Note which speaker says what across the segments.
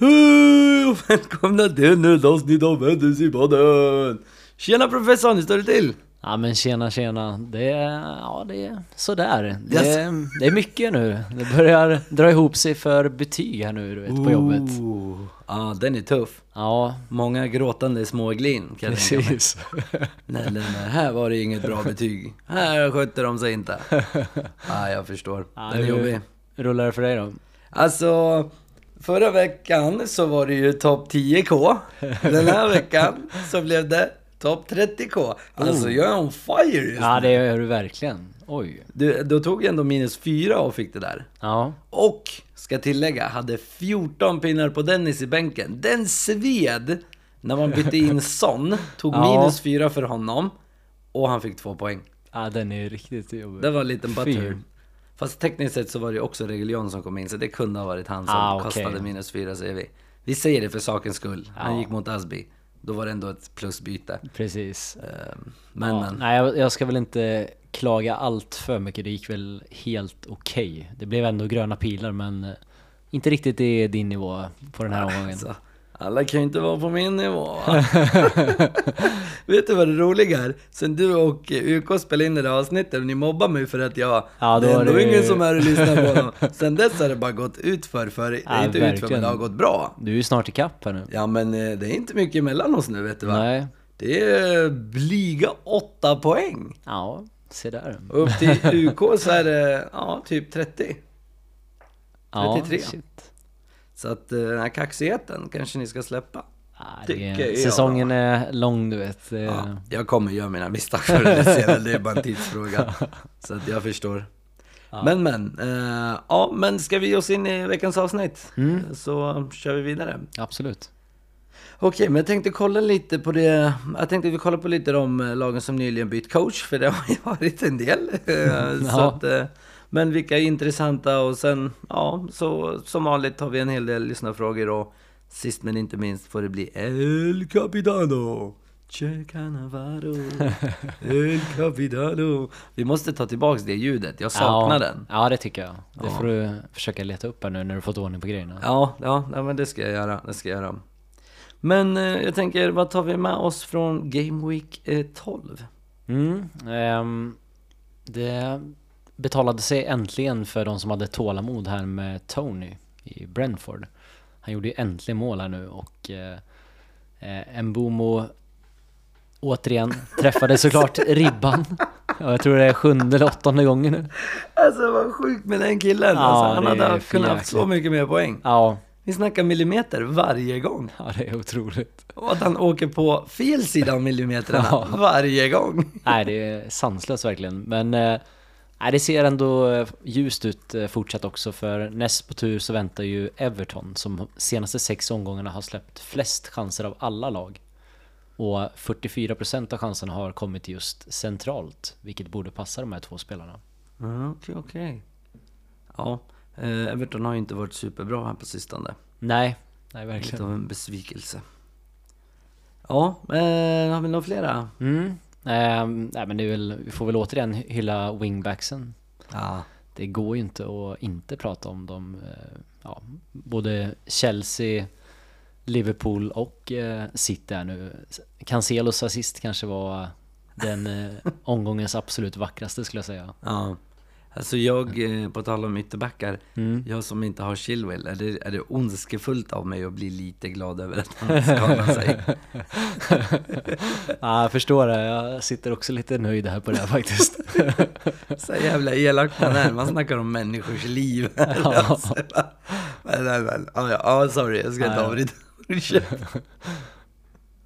Speaker 1: Hej och välkomna till ett nytt avsnitt av Händelsepodden! Tjena professorn, hur står det till?
Speaker 2: Ja men tjena tjena, det är, ja, det är sådär. Det, är, det är mycket nu. Det börjar dra ihop sig för betyg här nu du vet, på jobbet.
Speaker 1: Ooh, Ja, Oh. Ah, den är tuff.
Speaker 2: Ja,
Speaker 1: Många gråtande småglin kan jag tänka mig.
Speaker 2: precis.
Speaker 1: Nej, nej, nej, här var det inget bra betyg. Här skötte de sig inte. Ja, jag förstår. Den är
Speaker 2: hur
Speaker 1: jobbig.
Speaker 2: Rullar det för dig då?
Speaker 1: Alltså, förra veckan så var det ju topp 10K. Den här veckan så blev det topp 30K. Alltså, jag är on fire just
Speaker 2: Oh. Ja det gör du verkligen. Oj.
Speaker 1: Du, då tog jag ändå minus fyra och fick det där.
Speaker 2: Ja.
Speaker 1: Och, ska tillägga, hade 14 pinnar på Dennis i bänken. Den sved när man bytte in Son. Tog
Speaker 2: Ja.
Speaker 1: minus fyra för honom. Och han fick två poäng.
Speaker 2: ja, den är riktigt jobbig.
Speaker 1: Det var en liten butter.
Speaker 2: Fy.
Speaker 1: Fast tekniskt sett så var det också Reguljon som kom in, så det kunde ha varit han som
Speaker 2: Ah, okej.
Speaker 1: kostade minus fyra säger vi. Vi säger det för sakens skull. Han
Speaker 2: Ja.
Speaker 1: gick mot Asby. Då var det ändå ett plusbyte.
Speaker 2: Precis.
Speaker 1: Ehm, Men
Speaker 2: Ja,
Speaker 1: men.
Speaker 2: Nej jag, jag ska väl inte klaga allt för mycket, det gick väl helt okej. Det blev ändå gröna pilar men eh, inte riktigt i din nivå på den här omgången.
Speaker 1: Alltså, alla kan ju inte vara på min nivå va? Vet du vad det roliga är? Sen du och UK spelade in det där avsnittet och ni mobbar mig för att jag...
Speaker 2: Ja, då
Speaker 1: det är
Speaker 2: var
Speaker 1: ändå
Speaker 2: det ju-
Speaker 1: ingen som är och lyssnar på dem. Sen dess har det bara gått ut för, för
Speaker 2: Ja,
Speaker 1: inte ut för, men
Speaker 2: verkligen.
Speaker 1: det har gått bra.
Speaker 2: Du är ju snart ikapp här nu.
Speaker 1: Ja men eh, det är inte mycket mellan oss nu vet du va?
Speaker 2: Nej.
Speaker 1: Det är blyga åtta poäng.
Speaker 2: Ja, se där.
Speaker 1: Och upp till UK så är det ja, typ 30. 33.
Speaker 2: Ja, shit.
Speaker 1: Så att eh, den här kaxigheten kanske ni ska släppa.
Speaker 2: Ja,
Speaker 1: Tycker
Speaker 2: det,
Speaker 1: jag.
Speaker 2: säsongen är lång du vet. Det-
Speaker 1: Ja, jag kommer göra mina misstag förr eller senare, det är bara en tidsfråga. Så att jag förstår. Men men, eh, ja men ska vi ge oss in i veckans avsnitt? Så kör vi vidare.
Speaker 2: Absolut.
Speaker 1: Okej, men jag tänkte kolla lite på det. Jag tänkte vi kollar på lite de eh, lagen som nyligen bytt coach, för det har ju varit en del. Eh, så
Speaker 2: Mm, Ja.
Speaker 1: att, eh, men vilka är intressanta och sen, ja, så som vanligt har vi en hel del lyssnarfrågor och sist men inte minst får det bli El Capitano. Che Cannavaro, El Capitano. Vi måste ta tillbaks det ljudet, jag saknar
Speaker 2: ja,
Speaker 1: den.
Speaker 2: Ja, det tycker jag. Det får du försöka leta upp här nu när du fått ordning på grejerna.
Speaker 1: Ja, ja, ja, men det ska jag göra. Det ska jag göra. Men eh, jag tänker, vad tar vi med oss från Game Week eh, 12?
Speaker 2: Mm, ehm, det betalade sig äntligen för de som hade tålamod här med Tony i Brentford. Han gjorde ju äntligen mål här nu och eh, eh, Mbomo återigen träffade såklart ribban. Ja, jag tror det är sjunde eller åttonde gången nu.
Speaker 1: Alltså vad sjukt med den killen.
Speaker 2: Ja,
Speaker 1: alltså, han
Speaker 2: det
Speaker 1: hade
Speaker 2: är
Speaker 1: haft-
Speaker 2: för
Speaker 1: kunnat haft så
Speaker 2: jäkligt.
Speaker 1: mycket mer poäng.
Speaker 2: Ja,
Speaker 1: Vi snackar millimeter varje gång.
Speaker 2: ja det är otroligt.
Speaker 1: Och att han åker på fel sida av millimeterna
Speaker 2: Ja.
Speaker 1: varje gång.
Speaker 2: Nej, det är sanslöst verkligen. Men eh, nej, det ser ändå eh, ljust ut eh, fortsatt också för näst på tur så väntar ju Everton som senaste sex omgångarna har släppt flest chanser av alla lag. Och 44% av chanserna har kommit just centralt, vilket borde passa de här två spelarna.
Speaker 1: Ja, Okej, okej. Ja, eh, Everton har ju inte varit superbra här på sistone.
Speaker 2: Nej, nej
Speaker 1: Lite
Speaker 2: verkligen.
Speaker 1: av en besvikelse. Ja, eh, har vi några flera?
Speaker 2: Mm. Eh, nej, men det är väl, vi får väl återigen hylla wingbacksen
Speaker 1: Ja.
Speaker 2: Det går ju inte att inte prata om dem. eh, Ja, både Chelsea, Liverpool och eh, City här nu. Cancelos assist kanske var den eh, omgångens absolut vackraste skulle jag säga.
Speaker 1: Ja. Alltså jag, eh, på tal om ytterbackar, jag som inte har Chilwell, är det, är det ondskefullt av mig att bli lite glad över att han skadar sig?
Speaker 2: Ja, jag förstår det. Jag sitter också lite nöjd här på det här faktiskt.
Speaker 1: Så jävla elak man är, man snackar om människors liv. här, alltså. Men, men, men, ja, ja, ja, sorry, jag ska inte
Speaker 2: Ja.
Speaker 1: avbryta.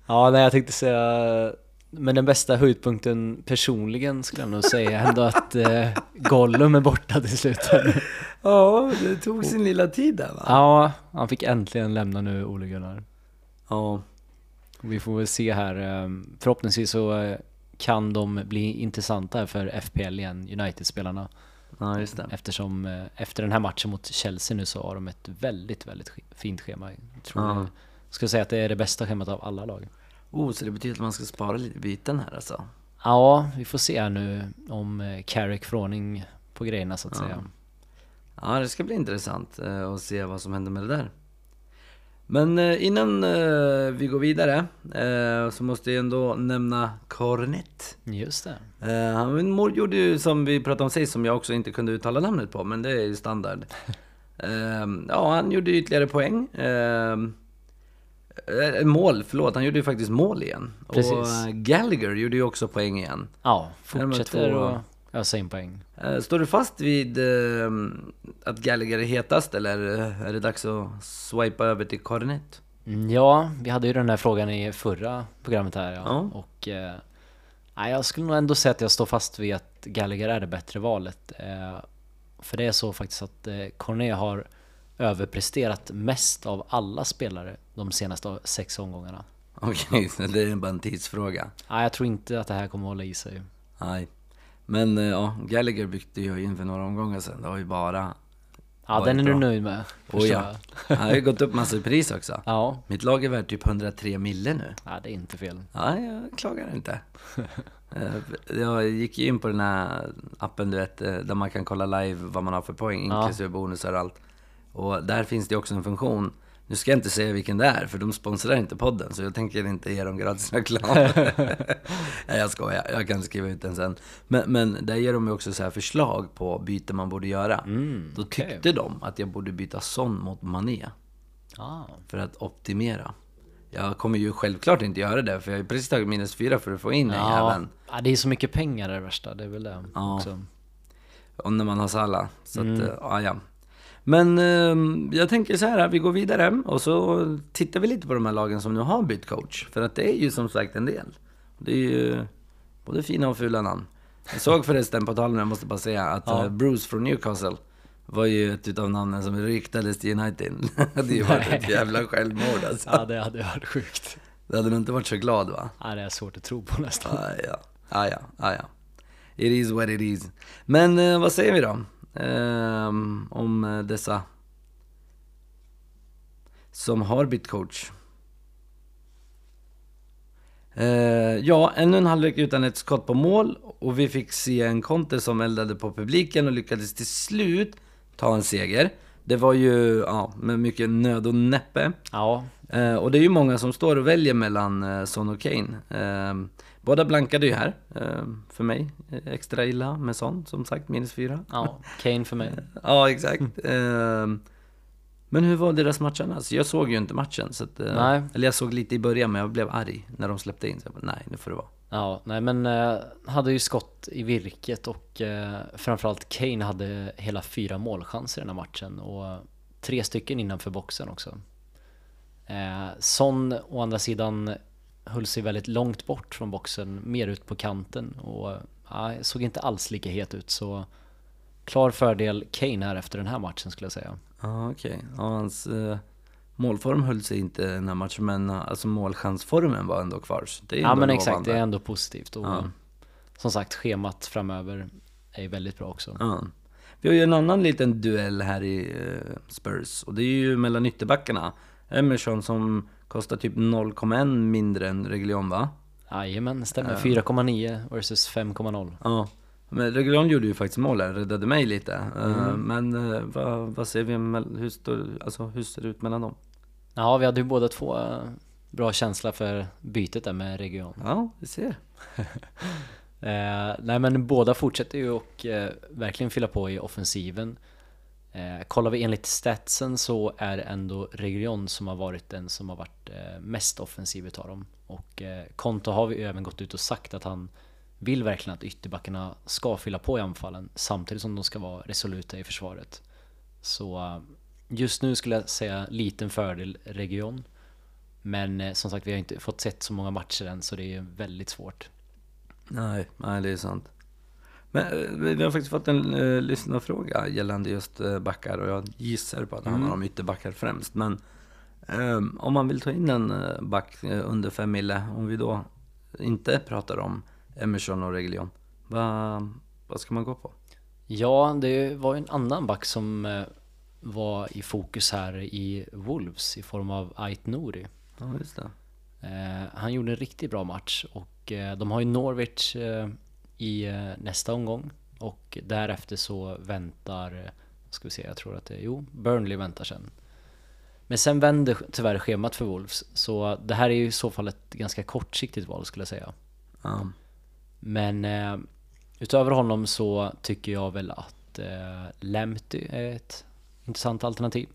Speaker 2: Ja, nej jag tänkte säga men den bästa höjdpunkten personligen skulle jag nog säga ändå att eh, Gollum är borta till slut. här.
Speaker 1: Ja, det tog sin lilla tid där va?
Speaker 2: Ja, han fick äntligen lämna nu Ole Gunnar.
Speaker 1: Ja.
Speaker 2: Vi får väl se här. eh, Förhoppningsvis så eh, kan de bli intressanta här för FPL igen, United-spelarna.
Speaker 1: Ja, just det.
Speaker 2: Eftersom eh, efter den här matchen mot Chelsea nu så har de ett väldigt, väldigt sk- fint schema. Jag tror
Speaker 1: Ja.
Speaker 2: jag skulle säga att det är det bästa schemat av alla lag.
Speaker 1: Oh, så det betyder att man ska spara lite byten här alltså?
Speaker 2: Ja, vi får se här nu om eh, Carrick får ordning på grejerna så att säga.
Speaker 1: Ja, det ska bli intressant eh, att se vad som händer med det där. Men eh, innan eh, vi går vidare eh, så måste jag ändå nämna Cornet.
Speaker 2: Just det.
Speaker 1: Eh, han mor- gjorde ju som vi pratade om sist, som jag också inte kunde uttala namnet på, men det är ju standard. Eh, ja, han gjorde ytterligare poäng. Eh, eh, mål, förlåt. Han gjorde ju faktiskt mål igen.
Speaker 2: Precis.
Speaker 1: Och eh, Gallagher gjorde ju också poäng igen.
Speaker 2: Ja,
Speaker 1: Här med
Speaker 2: fortsätter
Speaker 1: två-
Speaker 2: och... Ja, same poäng.
Speaker 1: Eh, Står du fast vid eh, att Gallagher är hetast eller eh, är det dags att swipa över till Cornet?
Speaker 2: Mm, Ja, vi hade ju den här frågan i förra programmet här ja.
Speaker 1: Ja.
Speaker 2: Och eh, nej, jag skulle nog ändå säga att jag står fast vid att Gallagher är det bättre valet. Eh, för det är så faktiskt att eh, Corné har överpresterat mest av alla spelare de senaste sex omgångarna.
Speaker 1: Okej, så det är bara en tidsfråga.
Speaker 2: Nej, jag tror inte att det här kommer hålla i sig.
Speaker 1: Nej. Men eh, ja, Gallagher bytte ju in för några omgångar sedan. Det var ju bara...
Speaker 2: Ja,
Speaker 1: Oj,
Speaker 2: den är du
Speaker 1: bra.
Speaker 2: nöjd med.
Speaker 1: Oh,
Speaker 2: förstår
Speaker 1: ja.
Speaker 2: jag.
Speaker 1: Han har ju gått upp massor i pris också.
Speaker 2: ja.
Speaker 1: Mitt lag är värt typ 103 mille nu.
Speaker 2: Ja, det är inte fel.
Speaker 1: Ja, jag klagar inte. Eh, Jag gick ju in på den här appen du vet, eh, där man kan kolla live vad man har för poäng,
Speaker 2: Ja.
Speaker 1: inklusive bonusar och allt. Och där finns det också en funktion. Nu ska jag inte säga vilken det är, för de sponsrar inte podden, så jag tänker inte ge dem gratis reklam. Nej, jag skojar. Jag kan skriva ut den sen. Men, men där ger de ju också så här förslag på byte man borde göra. Då
Speaker 2: Mm, okej.
Speaker 1: tyckte de att jag borde byta Son mot Mané
Speaker 2: Ah.
Speaker 1: för att optimera. Jag kommer ju självklart inte göra det, för jag har ju precis tagit minus fyra för att få in den
Speaker 2: Ja.
Speaker 1: jäveln.
Speaker 2: ja, det är så mycket pengar det värsta. Det är väl det
Speaker 1: Ja.
Speaker 2: också.
Speaker 1: Och när man har Salah. Så
Speaker 2: Mm.
Speaker 1: att, eh, ja, ja. Men ehm, jag tänker så här, vi går vidare och så tittar vi lite på de här lagen som nu har bytt coach. För att det är ju som sagt en del. Det är ju både fina och fula namn. Jag såg förresten, på tal om det, jag måste bara säga, att
Speaker 2: Ja.
Speaker 1: eh, Bruce från Newcastle var ju ett utav namnen som ryktades till United. det hade ju varit ett jävla självmord alltså.
Speaker 2: Ja, det hade varit sjukt.
Speaker 1: Det hade nog inte varit så glad va?
Speaker 2: Ja, det är svårt att tro på nästan.
Speaker 1: Ah, ja. Ah, ja. Ah, ja. It is what it is. Men eh, vad säger vi då? Ehm, om eh, dessa som har bytt coach. Eh, ja, ännu en halvlek utan ett skott på mål och vi fick se en Conte som eldade på publiken och lyckades till slut ta en seger. Det var ju ja, med mycket nöd och näppe.
Speaker 2: Ja,
Speaker 1: Eh, och det är ju många som står och väljer mellan eh, Son och Kane. Eh, båda blankade ju här, eh, för mig. Eh, Extra illa med Son, som sagt, minus fyra.
Speaker 2: ja, Kane för mig.
Speaker 1: Ja, exakt.
Speaker 2: Mm.
Speaker 1: Eh, men hur var deras match annars? Jag såg ju inte matchen, så att, eh,
Speaker 2: Nej.
Speaker 1: Eller jag såg lite i början, men jag blev arg när de släppte in. Så jag bara, nej, nu får det vara.
Speaker 2: Ja, nej men eh, hade ju skott i virket och eh, framförallt Kane hade hela fyra målchanser i den här matchen och tre stycken innanför boxen också. Eh, Son å andra sidan höll sig väldigt långt bort från boxen, mer ut på kanten och eh, såg inte alls lika het ut så klar fördel Kane här efter den här matchen skulle jag säga.
Speaker 1: Ja, okej. Ja, hans eh, målform höll sig inte i den här matchen, men eh, alltså målchansformen var ändå kvar. Så det är
Speaker 2: Ja
Speaker 1: ändå
Speaker 2: men exakt,
Speaker 1: lovande.
Speaker 2: det är ändå positivt. Och
Speaker 1: Ja.
Speaker 2: Som sagt, schemat framöver är ju väldigt bra också.
Speaker 1: Ja. Vi har ju en annan liten duell här i eh, Spurs och det är ju mellan ytterbackarna. Emerson som kostar typ 0,1 mindre än Reglion va?
Speaker 2: Jajamän, stämmer. 4,9 versus 5,0.
Speaker 1: Ja. Men Reglion gjorde ju faktiskt mål här, räddade mig lite. Eh, Men eh, vad, vad ser vi, mell- hur, står, alltså, hur ser det ut mellan dem?
Speaker 2: Ja, vi hade ju båda två eh, bra känsla för bytet där med region.
Speaker 1: Ja, vi ser.
Speaker 2: Eh, nej men båda fortsätter ju och eh, verkligen fylla på i offensiven. Eh, kollar vi enligt statsen så är det ändå Region som har varit den som har varit eh, mest offensiv utav dem. Och eh, Konto har vi ju även gått ut och sagt att han vill verkligen att ytterbackarna ska fylla på i anfallen samtidigt som de ska vara resoluta i försvaret. Så eh, just nu skulle jag säga liten fördel Region. Men eh, som sagt vi har inte fått sett så många matcher än så det är väldigt svårt.
Speaker 1: Nej, nej det är sant. Men eh, vi vi har faktiskt fått en uh, lyssnarfråga gällande just eh, backar och jag gissar på att det handlar om ytterbackar främst. Men ehm, om man vill ta in en eh, back eh, under fem mille, om vi då inte pratar om Emerson och Reglion, vad, vad ska man gå på?
Speaker 2: Ja, det var ju en annan back som eh, var i fokus här i Wolves i form av Ait Nouri.
Speaker 1: Ja, just det.
Speaker 2: Eh, Han gjorde en riktigt bra match och eh, de har ju Norwich eh, i eh, nästa omgång och därefter så väntar, eh, ska vi se, jag tror att det är, jo, Burnley väntar sen. Men sen vänder tyvärr schemat för Wolves, så det här är ju i så fall ett ganska kortsiktigt val skulle jag säga.
Speaker 1: Ja.
Speaker 2: Men eh, utöver honom så tycker jag väl att eh, Lamptey är ett intressant alternativ.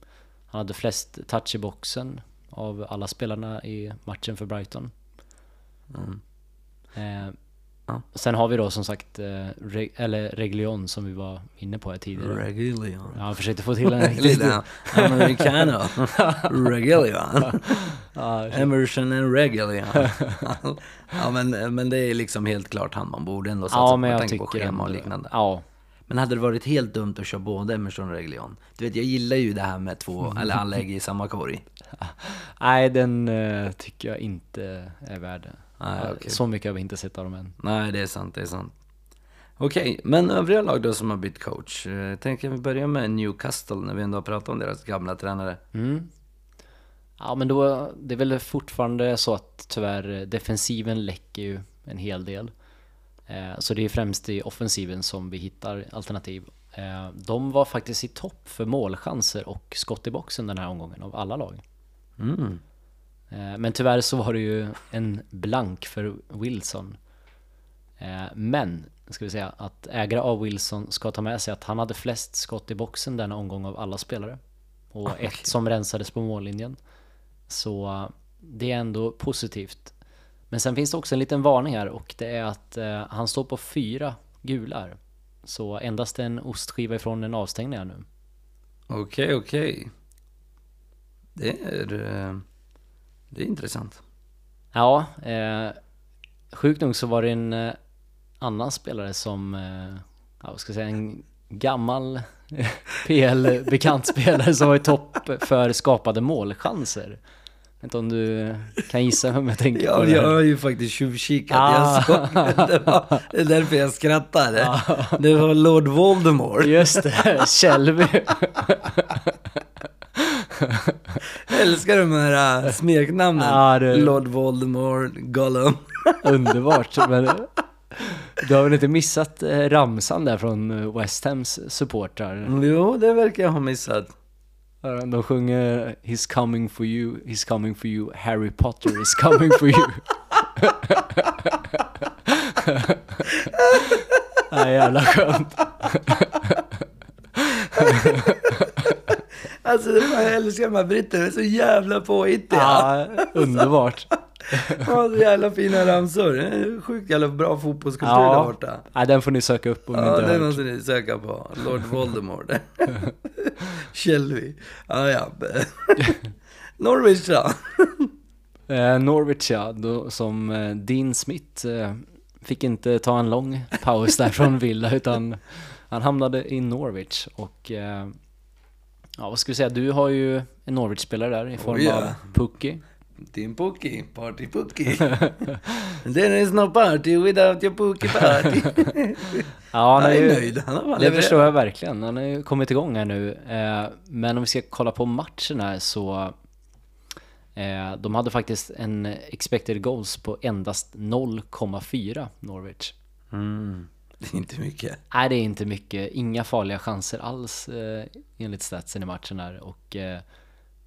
Speaker 2: Han hade flest touch i boxen av alla spelarna i matchen för Brighton.
Speaker 1: Mm.
Speaker 2: Eh,
Speaker 1: Ja.
Speaker 2: Sen har vi då som sagt eh, Re- eller Reglion som vi var inne på här
Speaker 1: Mm.
Speaker 2: tidigare.
Speaker 1: Regulion.
Speaker 2: Ja, jag försökte få till en riktigt.
Speaker 1: Lilla americano. Regulion.
Speaker 2: Ja,
Speaker 1: Emerson and Regulion. ja, men, men det är liksom helt klart han man borde ändå satsa
Speaker 2: ja,
Speaker 1: på,
Speaker 2: men
Speaker 1: med
Speaker 2: jag
Speaker 1: tanke
Speaker 2: tycker
Speaker 1: på schema och
Speaker 2: ändå-
Speaker 1: liknande.
Speaker 2: Ja,
Speaker 1: Men hade det varit helt dumt att köra både Emerson och Regulion? Du vet, jag gillar ju det här med två, eller alla ägg i samma korg.
Speaker 2: nej den eh, tycker jag inte är värd.
Speaker 1: Nej,
Speaker 2: Ja,
Speaker 1: okej.
Speaker 2: Så mycket har vi inte sett av dem än.
Speaker 1: Nej, det är sant, det är sant. Okej, men övriga lag då som har bytt coach? Eh, Tänker vi börja med Newcastle när vi ändå har pratat om deras gamla tränare.
Speaker 2: Mm. Ja men då, det är väl fortfarande så att tyvärr eh, defensiven läcker ju en hel del. Eh, så det är främst i offensiven som vi hittar alternativ. Eh, de var faktiskt i topp för målchanser och skott i boxen den här omgången av alla lag.
Speaker 1: Mm.
Speaker 2: Eh, men tyvärr så var det ju en blank för Wilson. Eh, men, ska vi säga, att ägare av Wilson ska ta med sig att han hade flest skott i boxen denna omgång av alla spelare. Och ett som rensades på mållinjen. Så eh, det är ändå positivt. Men sen finns det också en liten varning här och det är att eh, han står på fyra gular. Så endast en ostskiva ifrån en avstängning här nu.
Speaker 1: Okej, okej. Det är... eh, Det är intressant.
Speaker 2: Ja, eh, sjukt nog så var det en eh, annan spelare som, eh, ja, vad ska jag säga, en gammal PL-bekant spelare som var i topp för skapade målchanser. Jag vet inte om du kan gissa vem jag tänker på?
Speaker 1: Ja,
Speaker 2: där.
Speaker 1: jag har ju faktiskt tjuvkikat.
Speaker 2: Ah.
Speaker 1: Jag såg det. det. Var, det är därför jag skrattade. Det var Lord Voldemort.
Speaker 2: Just det, Kjellby.
Speaker 1: Jag älskar de här äh, smeknamnen.
Speaker 2: Ja, det-
Speaker 1: Lord Voldemort, Gollum.
Speaker 2: Underbart. Men du har väl inte missat eh, ramsan där från eh, West Hams supportrar?
Speaker 1: Mm, Jo, det verkar jag ha missat.
Speaker 2: De sjunger He's coming for you, he's coming for you, Harry Potter is coming for you. Nej, jävla skönt.
Speaker 1: Alltså, det var, jag älskar de här britterna. De är så jävla påhittiga.
Speaker 2: Ja, underbart.
Speaker 1: Ja, så jävla fina ramsor. Det är Sjukt jävla bra fotbollskultur
Speaker 2: Ja.
Speaker 1: där borta.
Speaker 2: Nej, den får ni söka upp om ni
Speaker 1: Ja,
Speaker 2: inte har
Speaker 1: Mm, det
Speaker 2: hört.
Speaker 1: måste ni söka på. Lord Voldemort. Shelby. Ja, ja. Norwich då?
Speaker 2: Eh, Norwich ja, då, som eh, Dean Smith eh, fick inte ta en lång paus där från Villa utan han hamnade i Norwich och eh, ja, vad ska vi säga, du har ju en Norwich-spelare där i form
Speaker 1: Oh, yeah.
Speaker 2: av Pukki.
Speaker 1: Din Pookie, Party Pookie. There is no party without your Pookie party.
Speaker 2: Ja,
Speaker 1: Han
Speaker 2: han har
Speaker 1: är
Speaker 2: ju,
Speaker 1: nöjd, han har bara
Speaker 2: det
Speaker 1: levererat.
Speaker 2: förstår jag verkligen. Han har ju kommit igång här nu. Eh, Men om vi ska kolla på matchen här så... eh, De hade faktiskt en expected goals på endast 0,4 Norwich.
Speaker 1: Mm. Det är inte mycket.
Speaker 2: Nej, det är inte mycket. Inga farliga chanser alls eh, enligt statsen i matchen här. Och eh,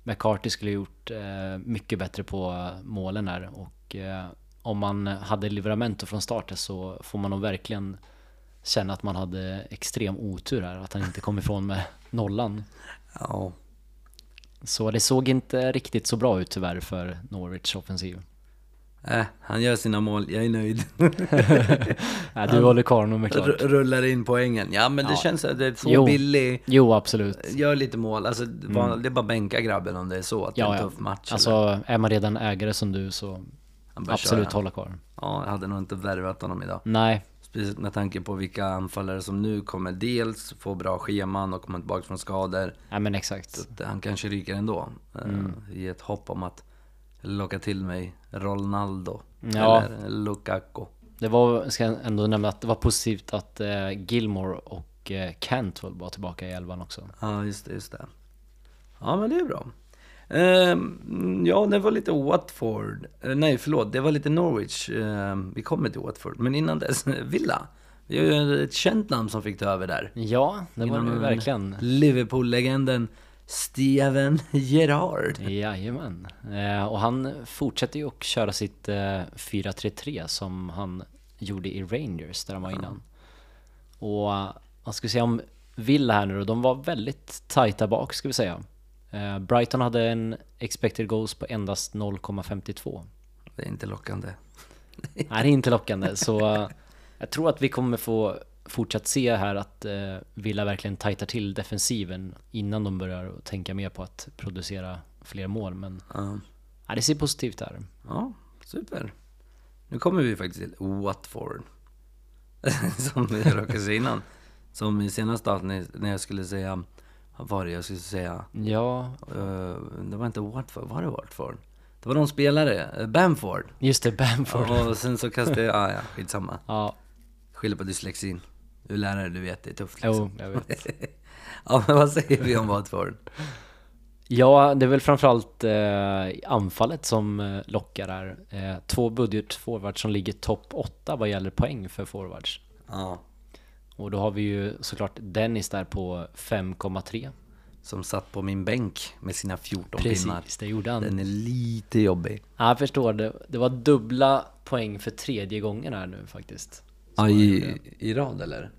Speaker 2: McCarthy skulle ha gjort eh, mycket bättre på målen här. Och eh, om man hade Livramento från starten så får man nog verkligen känna att man hade extrem otur här. Att han inte kom ifrån med nollan.
Speaker 1: Ja.
Speaker 2: Så det såg inte riktigt så bra ut tyvärr för Norwich offensiv.
Speaker 1: Äh, han gör sina mål, jag är nöjd.
Speaker 2: Nej, du håller kvar honom
Speaker 1: R-
Speaker 2: klart.
Speaker 1: rullar in poängen. Ja, men det känns att det är så
Speaker 2: Jo.
Speaker 1: billig.
Speaker 2: Jo, absolut.
Speaker 1: Gör lite mål. Alltså, det är bara- det är bara bänka grabben om det är så att det är en tuff match. eller-
Speaker 2: Alltså, är man redan ägare som du så
Speaker 1: Han bara
Speaker 2: absolut
Speaker 1: köra.
Speaker 2: hålla kvar.
Speaker 1: Ja, jag hade nog inte värvat honom idag.
Speaker 2: Nej,
Speaker 1: Speciellt med tanke på vilka anfallare som nu kommer dels få bra scheman och komma tillbaka från skador.
Speaker 2: nej men exakt.
Speaker 1: Det- Han kanske ryker ändå. Eh, I ett hopp om att locka till mig Ronaldo.
Speaker 2: Ja.
Speaker 1: Eller Lukaku.
Speaker 2: Det var, ska jag ändå nämna att det var positivt att eh, Gilmore och eh, Cantwell var tillbaka i elvan också.
Speaker 1: Ja, just det, just det. Ja, men det är bra. Ehm, ja, det var lite Watford. Eh, nej, förlåt. Det var lite Norwich. Ehm, vi kommer till Watford. Men innan dess, Villa. Det är ju ett känt namn som fick ta över där.
Speaker 2: Ja, det var det
Speaker 1: Innan
Speaker 2: verkligen.
Speaker 1: Liverpool-legenden Steven Gerrard.
Speaker 2: Jajamän. Eh, och han fortsätter ju att köra sitt eh, 4-3-3 som han gjorde i Rangers där han var innan. Och eh, man ska se om Villa här nu då, de var väldigt tajta bak ska vi säga. Eh, Brighton hade en expected goals på endast 0,52.
Speaker 1: Det är inte lockande.
Speaker 2: Nej, det är inte lockande. Så eh, jag tror att vi kommer få fortsatt se här att eh, Villa verkligen tajtar till defensiven innan de börjar tänka mer på att producera fler mål. Men
Speaker 1: Ja.
Speaker 2: ja, det ser positivt här.
Speaker 1: Ja, super. Nu kommer vi faktiskt till Watford. som jag råkade säga innan. Som i senaste avsnittet när jag skulle säga... Vad var det jag skulle säga?
Speaker 2: Ja,
Speaker 1: Eh, det var inte Watford, var det Watford? Det var någon spelare, eh, Bamford.
Speaker 2: just det, Bamford. Ja,
Speaker 1: Och sen så kastade jag... Ah, ja, skitsamma.
Speaker 2: ja
Speaker 1: Skyller på dyslexin. Du är lärare, du vet, det är tufft liksom.
Speaker 2: jo, jag vet.
Speaker 1: Ja, men vad säger vi om Watford?
Speaker 2: Ja, det är väl framförallt eh, anfallet som eh, lockar här. Eh, två budgetforwards som ligger topp 8 vad gäller poäng för forwards.
Speaker 1: Ja,
Speaker 2: Och då har vi ju såklart Dennis där på 5,3.
Speaker 1: som satt på min bänk med sina 14 pinnar.
Speaker 2: Precis, det gjorde han.
Speaker 1: Den är lite jobbig.
Speaker 2: Ja, jag förstår. Det, det var dubbla poäng för tredje gången här nu faktiskt.
Speaker 1: Ja, i, I rad eller?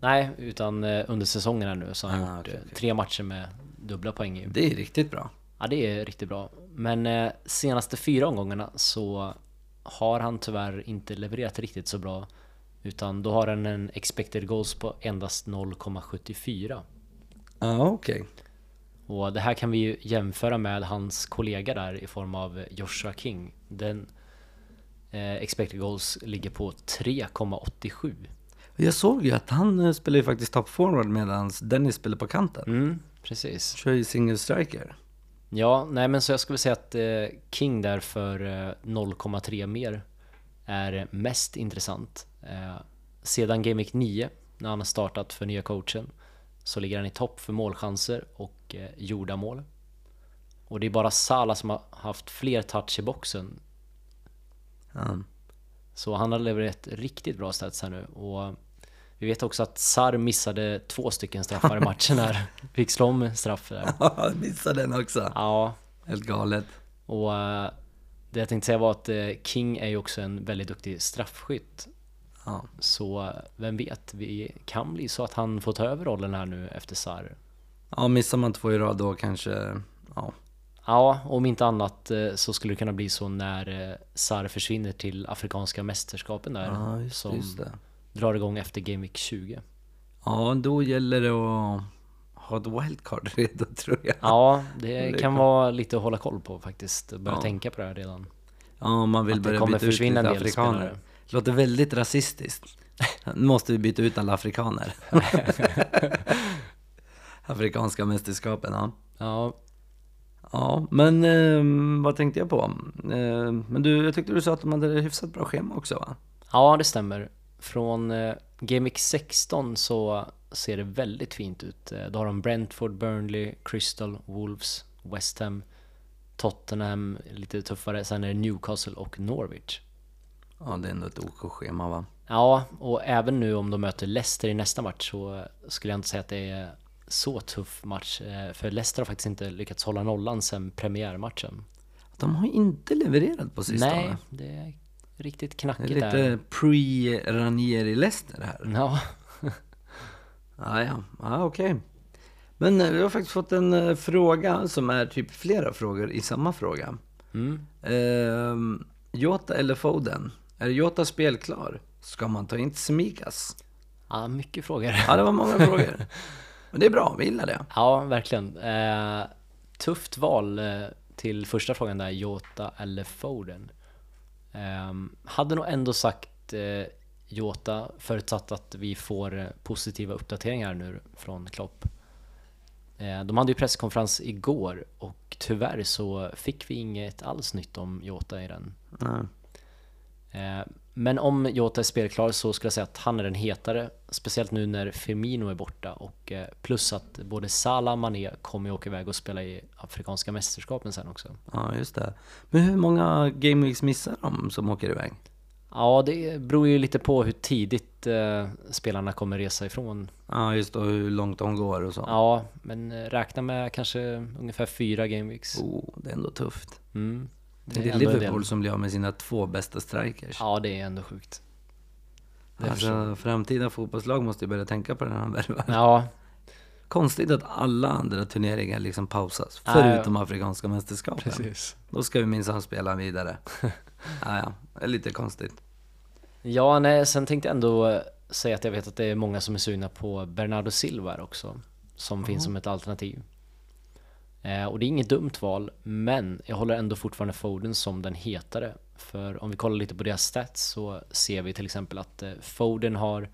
Speaker 2: Nej, utan eh, under säsongen här nu så har han
Speaker 1: Ah,
Speaker 2: gjort
Speaker 1: okej,
Speaker 2: eh, tre matcher med dubbla poäng. i.
Speaker 1: Det är riktigt bra.
Speaker 2: Ja, det är riktigt bra. Men eh, senaste fyra omgångarna så har han tyvärr inte levererat riktigt så bra. Utan då har han en expected goals på endast 0,74.
Speaker 1: Ja, ah, okej.
Speaker 2: Och det här kan vi ju jämföra med hans kollega där i form av Joshua King. Den eh, expected goals ligger på 3,87.
Speaker 1: Jag såg ju att han eh, spelar ju faktiskt top forward medan Dennis spelar på kanten.
Speaker 2: Mm, precis.
Speaker 1: Kör ju single striker.
Speaker 2: Ja, nej men så jag skulle säga att eh, King där för eh, 0,3 mer är mest intressant. Eh, sedan Game Week 9, när han har startat för nya coachen, så ligger han i topp för målchanser och eh, gjorda mål. Och det är bara Salah som har haft fler touch i boxen
Speaker 1: Ja.
Speaker 2: Så han har levererat riktigt bra stats här nu och vi vet också att Sar missade två stycken straffar i matchen här. Fick slå om straff där.
Speaker 1: Jag missade den också.
Speaker 2: Ja,
Speaker 1: Helt galet.
Speaker 2: och eh, det jag tänkte säga var att eh, King är ju också en väldigt duktig straffskytt.
Speaker 1: Ja.
Speaker 2: Så eh, vem vet, vi kan bli så att han får ta över rollen här nu efter Sar.
Speaker 1: ja, missar man två i rad då kanske... Ja.
Speaker 2: Ja, om inte annat eh, så skulle det kunna bli så när eh, Sar försvinner till Afrikanska mästerskapen där.
Speaker 1: Ja, just,
Speaker 2: som
Speaker 1: just det.
Speaker 2: drar igång efter Game Week 20.
Speaker 1: Ja, då gäller det att ha ett wildcard redo tror jag.
Speaker 2: Ja,
Speaker 1: är
Speaker 2: det kan vara lite att hålla koll på faktiskt. Börja
Speaker 1: Ja.
Speaker 2: tänka på det här redan.
Speaker 1: Ja, om man vill
Speaker 2: Att det
Speaker 1: börja
Speaker 2: kommer
Speaker 1: byta ut
Speaker 2: försvinna
Speaker 1: lite
Speaker 2: en del
Speaker 1: afrikaner.
Speaker 2: spelare.
Speaker 1: Låter väldigt rasistiskt. Nu måste vi byta ut alla afrikaner. Afrikanska mästerskapen, ja.
Speaker 2: Ja,
Speaker 1: Ja, men ehm, vad tänkte jag på? Ehm, men du, jag tyckte du sa att de hade hyfsat bra schema också va?
Speaker 2: ja det stämmer. Från eh, Game Week 16 så ser det väldigt fint ut. Eh, Då har de Brentford, Burnley, Crystal, Wolves, West Ham, Tottenham, lite tuffare. Sen är det Newcastle och Norwich.
Speaker 1: Ja, det är ändå ett OK-schema va?
Speaker 2: Ja, och även nu om de möter Leicester i nästa match så eh, skulle jag inte säga att det är så tuff match. eh, För Leicester har faktiskt inte lyckats hålla nollan sen premiärmatchen.
Speaker 1: De har inte levererat på sistone.
Speaker 2: Nej, det är riktigt
Speaker 1: Det är
Speaker 2: knackigt där.
Speaker 1: lite pre-Ranieri-Leicester här.
Speaker 2: Ja,
Speaker 1: Ja, ja, ja okej. Men eh, vi har faktiskt fått en eh, fråga som är typ flera frågor i samma fråga.
Speaker 2: mm.
Speaker 1: Ehm, Jota eller Foden? Är Jota spelklar? Ska man ta in Smikas?
Speaker 2: ja mycket frågor.
Speaker 1: Ja, det var många frågor. Men det är bra, vi gillar det.
Speaker 2: Ja, verkligen. Eh, tufft val eh, till första frågan där, Jota eller Foden. Eh, hade nog ändå sagt eh, Jota, förutsatt att vi får eh, positiva uppdateringar nu från Klopp. Eh, de hade ju presskonferens igår och tyvärr så fick vi inget alls nytt om Jota i den.
Speaker 1: Nej.
Speaker 2: Eh, Men om Jota är spelklar så skulle jag säga att han är den hetare. Speciellt nu när Firmino är borta och eh, plus att både Salah och Mané kommer ju åka iväg och spela i Afrikanska mästerskapen sen också.
Speaker 1: Ja, just det. Men hur många Game Weeks missar de som åker iväg?
Speaker 2: Ja, det beror ju lite på hur tidigt eh, spelarna kommer resa ifrån.
Speaker 1: Ja, just och hur långt de går och så.
Speaker 2: Ja, men eh, räkna med kanske ungefär fyra gameweeks.
Speaker 1: Oh, det är ändå tufft.
Speaker 2: Mm.
Speaker 1: Det är,
Speaker 2: ändå en del.
Speaker 1: Liverpool som blir av med sina två bästa strikers.
Speaker 2: Ja, det är ändå sjukt. det förstår
Speaker 1: alltså, framtida fotbollslag måste ju börja tänka på den här värvaren.
Speaker 2: Ja,
Speaker 1: Konstigt att alla andra turneringar liksom pausas,
Speaker 2: Ja,
Speaker 1: förutom afrikanska mästerskapen.
Speaker 2: precis.
Speaker 1: Då ska vi minsann spela vidare. ja, ja, det är lite konstigt.
Speaker 2: Ja, nej, sen tänkte jag ändå eh, säga att jag vet att det är många som är sugna på Bernardo Silva här också. Som finns som ett alternativ. Eh, och det är inget dumt val, men jag håller ändå fortfarande Foden som den hetare. För om vi kollar lite på deras stats så ser vi till exempel att eh, Foden har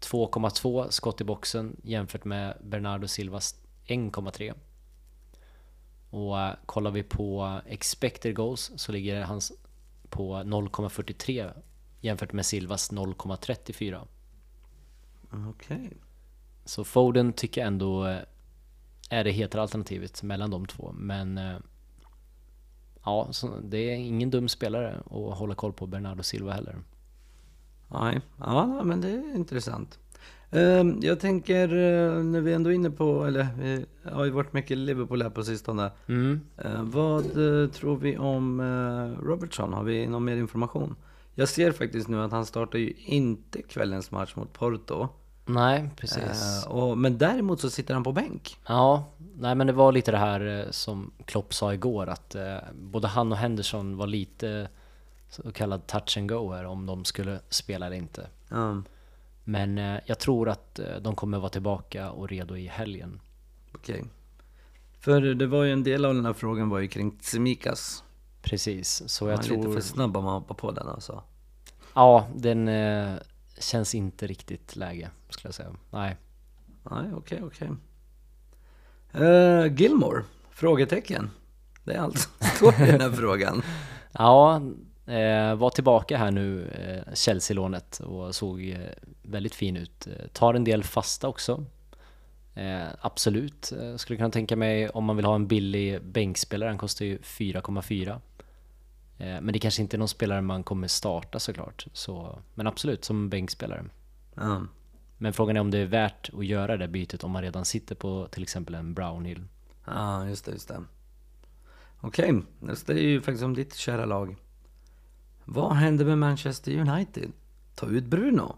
Speaker 2: 2,2 skott i boxen jämfört med Bernardo Silvas 1,3. Och eh, kollar vi på expected goals så ligger hans på 0,43 jämfört med Silvas 0,34.
Speaker 1: Okej.
Speaker 2: Så Foden tycker jag ändå eh, är det hetare alternativet mellan de två. Men eh, ja, så det är ingen dum spelare att hålla koll på Bernardo Silva heller.
Speaker 1: Nej, ja, ja, men det är intressant. Ehm, Jag tänker, eh, när vi ändå är inne på, eller vi har ju varit mycket Liverpool här på sistone.
Speaker 2: Mm.
Speaker 1: Eh, Vad eh, tror vi om eh, Robertson? Har vi någon mer information? Jag ser faktiskt nu att han startar ju inte kvällens match mot Porto.
Speaker 2: Nej, precis.
Speaker 1: Eh, och, men däremot så sitter han på bänk.
Speaker 2: Ja, nej men det var lite det här eh, som Klopp sa igår att eh, både han och Henderson var lite så kallad touch and go här om de skulle spela eller inte.
Speaker 1: Um,
Speaker 2: Men eh, jag tror att eh, de kommer vara tillbaka och redo i helgen.
Speaker 1: Okej. För det var ju en del av den här frågan var ju kring Tsimikas.
Speaker 2: Precis, så jag
Speaker 1: Han är lite
Speaker 2: tror...
Speaker 1: för snabb om man hoppar på den alltså.
Speaker 2: Ja, den eh, känns inte riktigt läge skulle jag säga. Nej.
Speaker 1: Nej, okej, okej. Eh, Gilmore? Frågetecken. Det är allt som står i den här frågan.
Speaker 2: Ja, eh, var tillbaka här nu, eh, Chelsea-lånet och såg eh, väldigt fin ut. Eh, tar en del fasta också. Eh, absolut, eh, skulle kunna tänka mig om man vill ha en billig bänkspelare. Han kostar ju 4,4. Eh, men det kanske inte är någon spelare man kommer starta såklart. Så, men absolut, som bänkspelare.
Speaker 1: Ja.
Speaker 2: Men frågan är om det är värt att göra det bytet om man redan sitter på till exempel en Brownhill.
Speaker 1: Ja, just det, just det. Okej, nästa är ju faktiskt om ditt kära lag. Vad händer med Manchester United? Ta ut Bruno?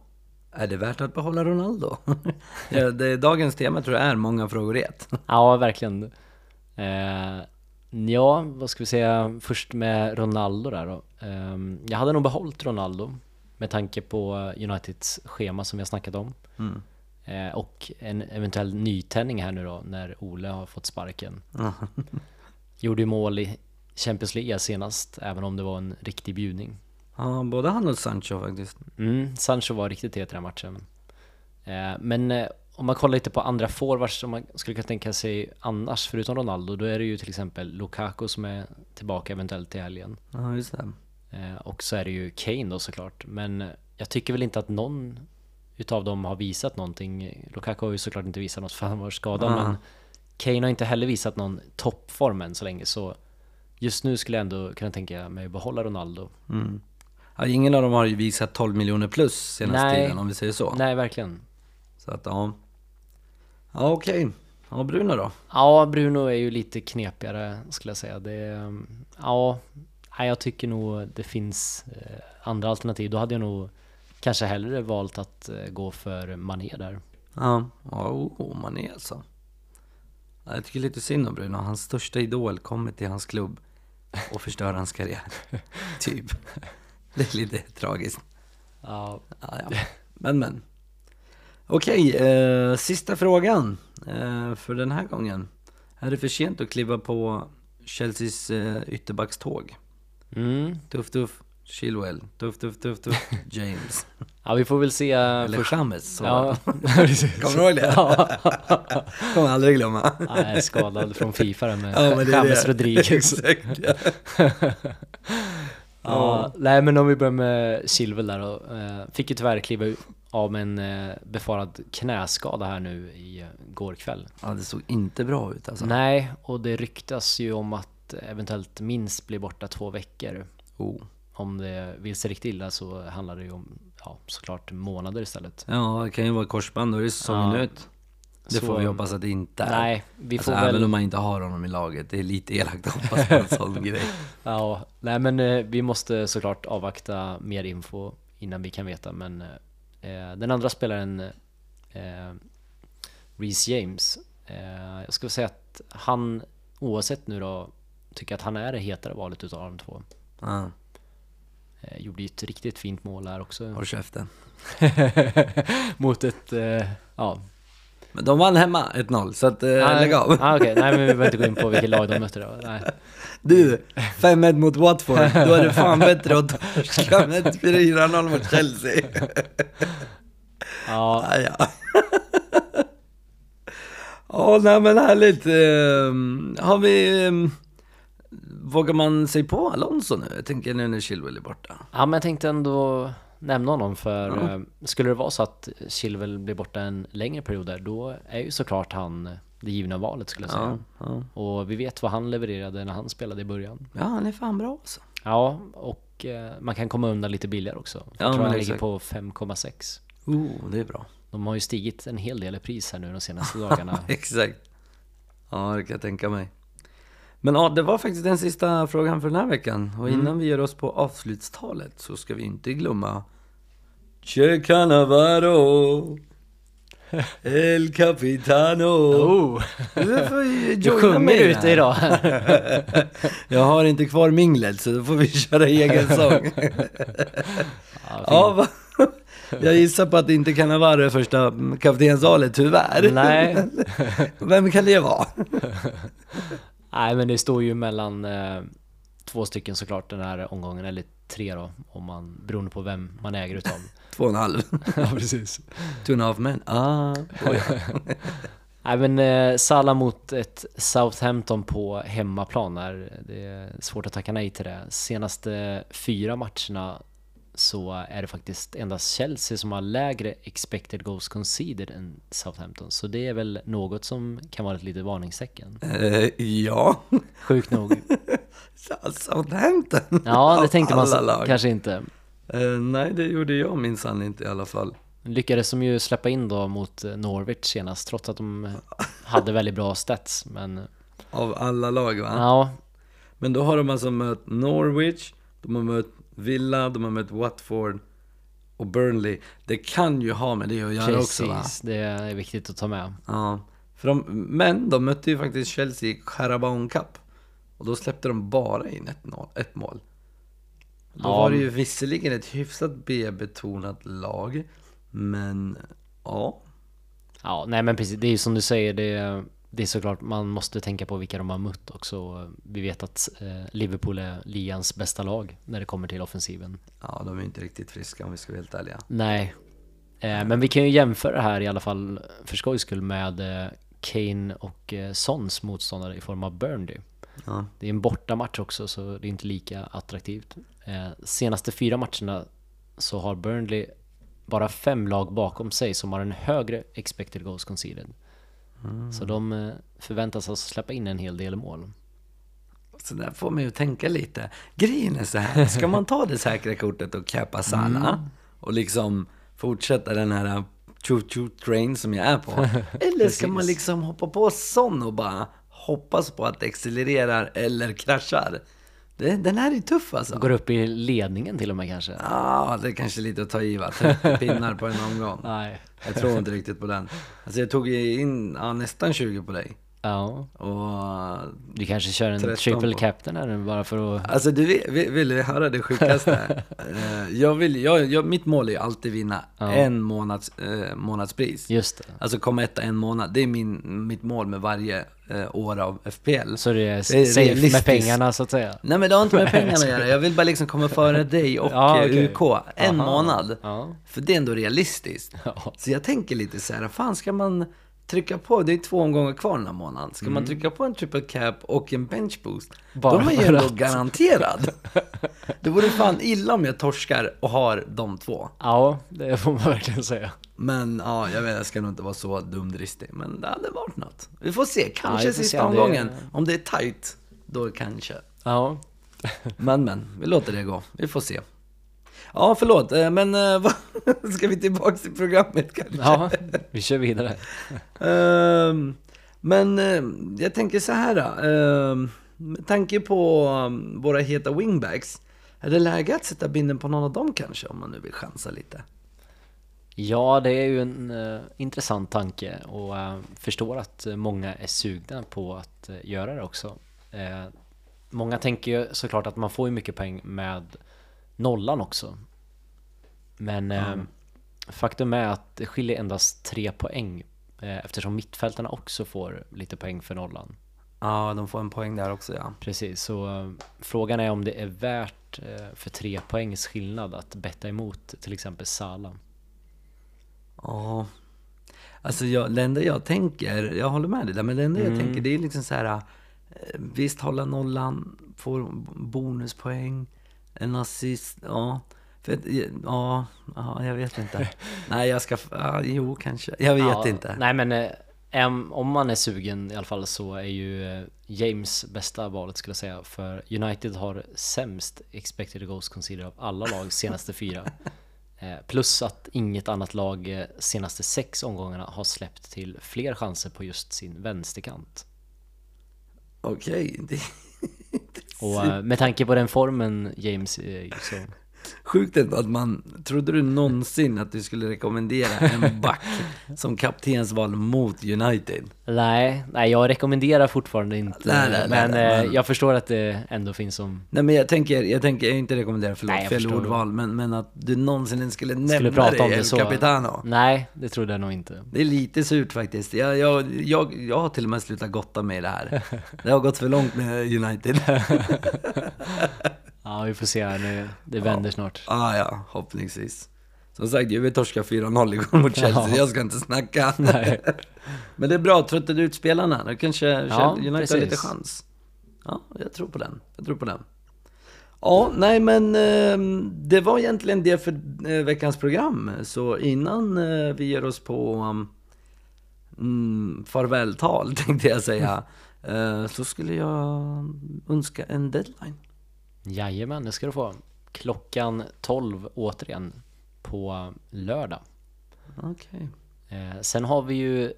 Speaker 1: Är det värt att behålla Ronaldo? ja, det är dagens tema tror jag är många frågor i ett.
Speaker 2: Ja, verkligen. Eh, ja, vad ska vi säga först med Ronaldo där då. Eh, jag hade nog behållit Ronaldo med tanke på Uniteds schema som vi har snackat om.
Speaker 1: Mm.
Speaker 2: Eh, och en eventuell nytändning här nu då när Ole har fått sparken.
Speaker 1: Ja.
Speaker 2: Gjorde ju mål i Champions League senast, även om det var en riktig bjudning.
Speaker 1: Ja, både han och Sancho faktiskt.
Speaker 2: Mm, Sancho var riktigt het i den här matchen. Eh, men eh, om man kollar lite på andra forwards som man skulle kunna tänka sig annars, förutom Ronaldo, då är det ju till exempel Lukaku som är tillbaka eventuellt till helgen.
Speaker 1: Ja, just det.
Speaker 2: Eh, och så är det ju Kane då såklart. Men eh, jag tycker väl inte att någon utav dem har visat någonting. Lukaku har ju såklart inte visat något för han var skadad,
Speaker 1: Ah.
Speaker 2: men Kane har inte heller visat någon toppform än så länge. Så just nu skulle jag ändå kunna tänka mig att behålla Ronaldo.
Speaker 1: Mm. Ja, ingen av dem har ju visat 12 miljoner plus senaste
Speaker 2: Nej.
Speaker 1: tiden om vi säger så.
Speaker 2: Nej, verkligen.
Speaker 1: Så att ja. Ja okej. Ja Bruno då?
Speaker 2: Ja, Bruno är ju lite knepigare skulle jag säga. Det, är- mm, ja, nej, jag tycker nog det finns eh, andra alternativ. Då hade jag nog kanske hellre valt att eh, gå för Mané där.
Speaker 1: Ja. Ja, oh, Mané alltså. Ja, Jag tycker lite synd om Bruno. Hans största idol kommer till hans klubb och förstör hans karriär. typ. Det är lite tragiskt.
Speaker 2: Ja,
Speaker 1: Ja, ja. Men men. Okej, eh, sista frågan eh, för den här gången. Är det för sent att kliva på Chelseas eh, ytterbackståg?
Speaker 2: mm.
Speaker 1: Tuff tuff Chilwell, tuff tuff tuff tuff James.
Speaker 2: ja vi får väl se.
Speaker 1: Eller
Speaker 2: först-
Speaker 1: Chamez. så var
Speaker 2: ja,
Speaker 1: det.
Speaker 2: precis.
Speaker 1: Kommer du ihåg det?
Speaker 2: Ja,
Speaker 1: Kommer jag aldrig glömma.
Speaker 2: jag är skadad från Fifa där med
Speaker 1: Ja, men det är det.
Speaker 2: James Rodriguez.
Speaker 1: Exakt. ja.
Speaker 2: Ja, nej men om vi börjar med Silver där då. Eh, Fick ju tyvärr kliva ur- av med en eh, befarad knäskada här nu i eh, går kväll.
Speaker 1: Ja, det såg inte bra ut alltså.
Speaker 2: Nej, och det ryktas ju om att eventuellt minst blir borta två veckor.
Speaker 1: Oh.
Speaker 2: om det vill sig riktigt illa så handlar det ju om ja, såklart månader istället.
Speaker 1: Ja, det kan ju vara korsband, då är det säsongen
Speaker 2: Ja.
Speaker 1: ut. Det
Speaker 2: Så-
Speaker 1: får vi hoppas att det inte är.
Speaker 2: Nej, vi
Speaker 1: alltså,
Speaker 2: får
Speaker 1: även
Speaker 2: väl...
Speaker 1: om man inte har honom i laget, det är lite elakt att hoppas på en sån grej.
Speaker 2: Ja, nej men eh, vi måste såklart avvakta mer info innan vi kan veta men eh, den andra spelaren eh, Reece James eh, jag skulle säga att han oavsett nu då tycker att han är det hetare valet utav de två.
Speaker 1: Ja,
Speaker 2: Eh, gjorde ju ett riktigt fint mål här också
Speaker 1: håll käften.
Speaker 2: mot ett, eh, ja.
Speaker 1: Men de vann hemma 1-0, så att, eh, lägg av.
Speaker 2: Ah, okej, nej men vi behöver inte gå in på vilket lag de mötte då. Nej.
Speaker 1: Du, 5-1 mot Watford, då är det fan bättre att torska med 4-0 mot Chelsea.
Speaker 2: Ja,
Speaker 1: Ja, ja. Ja, nej men härligt. Ehm, Har vi... ehm, Vågar man sig på Alonso nu? Jag tänker nu när Chilwell är borta.
Speaker 2: Ja men jag tänkte ändå nämna honom för eh, skulle det vara så att Chilwell blir borta en längre period där då är ju såklart han det givna valet skulle jag
Speaker 1: Ja,
Speaker 2: säga.
Speaker 1: ja.
Speaker 2: Och vi vet vad han levererade när han spelade i början.
Speaker 1: ja han är fan bra alltså.
Speaker 2: Ja, och eh, man kan komma undan lite billigare också.
Speaker 1: Ja,
Speaker 2: jag tror
Speaker 1: men
Speaker 2: han ligger
Speaker 1: exakt.
Speaker 2: på 5,6.
Speaker 1: Oh, det är bra.
Speaker 2: De har ju stigit en hel del i pris här nu de senaste dagarna.
Speaker 1: Exakt. Ja, det kan jag tänka mig. Men ja, det var faktiskt den sista frågan för den här veckan. Och innan vi gör oss på avslutstalet så ska vi inte glömma... Che Canavaro! El Capitano!
Speaker 2: Oh,
Speaker 1: Du får ju
Speaker 2: du
Speaker 1: joina
Speaker 2: sjunger
Speaker 1: mig
Speaker 2: ute
Speaker 1: här.
Speaker 2: idag.
Speaker 1: Jag har inte kvar minglet så då får vi köra egen sång.
Speaker 2: ja,
Speaker 1: ja, va? Jag gissar på att det inte kan vara det första kaptensvalet, tyvärr.
Speaker 2: fint. Nej,
Speaker 1: Vem kan det vara?
Speaker 2: Nej men det står ju mellan eh, två stycken såklart den här omgången, eller tre då, om man, beroende på vem man äger utav.
Speaker 1: Två och en halv.
Speaker 2: ja precis.
Speaker 1: Two and a half men. Ah.
Speaker 2: Nej men eh, Salah mot ett Southampton på hemmaplan där. Det är svårt att tacka nej till det. Senaste fyra matcherna så är det faktiskt endast Chelsea som har lägre expected goals conceded än Southampton. Så det är väl något som kan vara ett litet varningstecken.
Speaker 1: Eh, ja,
Speaker 2: Sjukt nog.
Speaker 1: Southampton.
Speaker 2: Ja, det
Speaker 1: Av
Speaker 2: tänkte man
Speaker 1: alla
Speaker 2: så-
Speaker 1: lag.
Speaker 2: kanske inte.
Speaker 1: Eh, nej, det gjorde jag minsann inte i alla fall.
Speaker 2: Lyckades de ju släppa in då mot eh, Norwich senast, trots att de eh, hade väldigt bra stats. Men
Speaker 1: Av alla lag va?
Speaker 2: ja,
Speaker 1: Men då har de alltså mött Norwich, de har mött Villa, de har mött Watford och Burnley. Det kan ju ha med det att göra också va?
Speaker 2: precis. Det är viktigt att ta med.
Speaker 1: Ja. För de, men de mötte ju faktiskt Chelsea i Carabao Cup. Och då släppte de bara in ett, noll, ett mål. Då
Speaker 2: Ja.
Speaker 1: var det ju visserligen ett hyfsat B-betonat lag, men ja.
Speaker 2: Ja, nej men precis. Det är ju som du säger, det är, det är såklart man måste tänka på vilka de har mött också. Vi vet att eh, Liverpool är ligans bästa lag när det kommer till offensiven.
Speaker 1: Ja, de är ju inte riktigt friska om vi ska vara helt ärliga.
Speaker 2: Nej, eh, men vi kan ju jämföra här i alla fall för skojs skull med eh, Kane och eh, Sons motståndare i form av Burnley.
Speaker 1: Ja.
Speaker 2: Det är en bortamatch också så det är inte lika attraktivt. Eh, senaste fyra matcherna så har Burnley bara fem lag bakom sig som har en högre expected goals conceded. Så de eh, förväntas alltså släppa in en hel del mål.
Speaker 1: Så där får man ju tänka lite. Grejen är så här, ska man ta det säkra kortet och cappa Salah och liksom fortsätta den här choo-choo train som jag är på? Eller ska man liksom hoppa på sån och bara hoppas på att det accelererar eller kraschar? Det, den här är tuff alltså.
Speaker 2: Går upp i ledningen till och med kanske.
Speaker 1: Ja, det är kanske lite att ta i va? 30 pinnar på en omgång.
Speaker 2: Nej.
Speaker 1: Jag tror inte riktigt på den. Alltså jag tog ju in ja, nästan 20 på dig.
Speaker 2: Ja.
Speaker 1: Och
Speaker 2: Du kanske kör en
Speaker 1: 13
Speaker 2: triple
Speaker 1: på.
Speaker 2: captain här nu bara för att...
Speaker 1: Alltså du vill, vill, vill du höra det sjukaste? Eh, jag vill, jag, jag, mitt mål är ju alltid vinna en månads, eh, månadspris.
Speaker 2: Just det.
Speaker 1: Alltså komma etta en månad. Det är min, mitt mål med varje eh, år av FPL.
Speaker 2: Så det är
Speaker 1: Det är
Speaker 2: safe med
Speaker 1: realistiskt.
Speaker 2: pengarna så att säga.
Speaker 1: Nej men det har inte med pengarna att göra. Jag vill bara liksom komma före dig och
Speaker 2: Ja,
Speaker 1: eh,
Speaker 2: okej.
Speaker 1: UK. En
Speaker 2: Aha.
Speaker 1: månad.
Speaker 2: Ja.
Speaker 1: För det är ändå realistiskt.
Speaker 2: Ja.
Speaker 1: Så jag tänker lite så här, fan ska man trycka på, det är två omgångar kvar den här månaden. Ska man trycka på en triple cap och en bench boost,
Speaker 2: Mm. Bara
Speaker 1: de är ju
Speaker 2: för
Speaker 1: ändå garanterad. Det vore fan illa om jag torskar och har de två.
Speaker 2: ja, det får man verkligen säga.
Speaker 1: Men ja, jag vet, jag ska nog inte vara så dumdristig. Men det hade varit något. Vi får se,
Speaker 2: Ja,
Speaker 1: kanske
Speaker 2: vi får se
Speaker 1: sista
Speaker 2: om det-
Speaker 1: omgången. Om det är tight, då kanske.
Speaker 2: Ja.
Speaker 1: Men men, vi låter det gå. Vi får se. Ja, förlåt, eh, men eh, vad- ska vi tillbaka till programmet kanske?
Speaker 2: Ja, vi kör vidare.
Speaker 1: Ehm, men eh, jag tänker så här. Uh, med tanke på eh, våra heta wingbacks. Är det läge att sätta binden på någon av dem kanske? Om man nu vill chansa lite.
Speaker 2: Ja, det är ju en eh, intressant tanke och eh, förstår att eh, många är sugna på att eh, göra det också. Eh, många tänker ju såklart att man får ju mycket poäng med nollan också. Men eh, faktum är att det skiljer endast tre poäng eh, eftersom mittfältarna också får lite poäng för nollan.
Speaker 1: Ja, de får en poäng där också ja.
Speaker 2: Precis, så eh, frågan är om det är värt eh, för tre poängs skillnad att betta emot till exempel Sala.
Speaker 1: Ja. Alltså jag, det enda jag tänker, jag håller med dig där, men det enda
Speaker 2: Mm.
Speaker 1: jag tänker det är liksom så här. eh, Visst, hålla nollan, får bonuspoäng, en assist, ja. För, att- eh, ja, ja, jag vet inte. Nej, jag ska... Ja, jo, kanske. Jag vet
Speaker 2: Ja,
Speaker 1: inte.
Speaker 2: Nej men eh, em- om man är sugen i alla fall så är ju eh, James bästa valet skulle jag säga. För United har sämst expected goals conceded av alla lag senaste fyra. Eh, Plus att inget annat lag eh, senaste sex omgångarna har släppt till fler chanser på just sin vänsterkant.
Speaker 1: Okej, det är
Speaker 2: Och eh, med tanke på den formen James är i så...
Speaker 1: sjukt ändå att man... Trodde du någonsin att du skulle rekommendera en back som kaptensval mot United?
Speaker 2: Nej, nej jag rekommenderar fortfarande inte.
Speaker 1: Nej, nej, nej,
Speaker 2: men
Speaker 1: nej,
Speaker 2: eh,
Speaker 1: men-
Speaker 2: jag förstår att det ändå finns som...
Speaker 1: Nej men jag tänker, jag tänker jag inte rekommendera, förlåt,
Speaker 2: Nej, jag
Speaker 1: fel
Speaker 2: förstår.
Speaker 1: ordval, men, men att du någonsin ens skulle nämna
Speaker 2: Skulle prata
Speaker 1: dig,
Speaker 2: om det
Speaker 1: El
Speaker 2: så.
Speaker 1: Capitano.
Speaker 2: Nej, det trodde jag nog inte.
Speaker 1: Det är lite surt faktiskt. Jag, jag, jag, jag har till och med slutat gotta mig i det här. Det har gått för långt med United.
Speaker 2: Ja, vi får se här nu. Det vänder snart.
Speaker 1: Ah, ja, hoppningsvis. Som sagt, vi torskade 4-0 igår mot Chelsea,
Speaker 2: Ja.
Speaker 1: jag ska inte snacka.
Speaker 2: Nej.
Speaker 1: Men det är bra, tröttade ut spelarna. Då kanske ja, United har lite
Speaker 2: precis.
Speaker 1: chans. Ja, jag tror på den. Jag tror på den. Ja, nej men eh, det var egentligen det för eh, veckans program. Så innan eh, vi ger oss på um, mm, farvältal tänkte jag säga.
Speaker 2: Mm.
Speaker 1: eh, så skulle jag önska en deadline.
Speaker 2: Jajamän, det ska du få. Klockan 12 återigen på lördag.
Speaker 1: Okej.
Speaker 2: Eh, sen har vi ju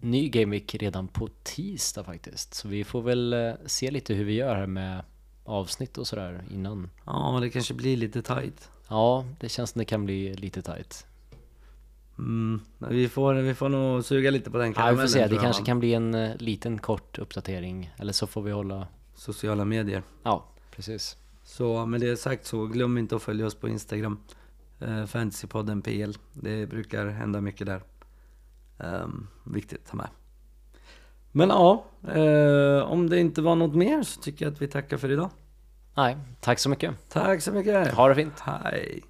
Speaker 2: ny Game Week redan på tisdag faktiskt. Så vi får väl eh, se lite hur vi gör här med avsnitt och sådär innan.
Speaker 1: Ja, det kanske blir lite tight.
Speaker 2: Ja, det känns som det kan bli lite tajt.
Speaker 1: Mm, vi, får, vi får nog suga lite på den
Speaker 2: Ja, vi får se, det
Speaker 1: tror jag,
Speaker 2: kanske
Speaker 1: va?
Speaker 2: kan bli en eh, liten kort uppdatering. Eller så får vi hålla...
Speaker 1: Sociala medier.
Speaker 2: Ja, precis.
Speaker 1: Så med det sagt så glöm inte att följa oss på Instagram. Eh, Fantasypodden PL. Det brukar hända mycket där. Ehm, viktigt att ta med. Men ja, eh, om det inte var något mer så tycker jag att vi tackar för idag.
Speaker 2: Nej, tack så mycket.
Speaker 1: Tack så mycket!
Speaker 2: Ha det fint.
Speaker 1: Hej!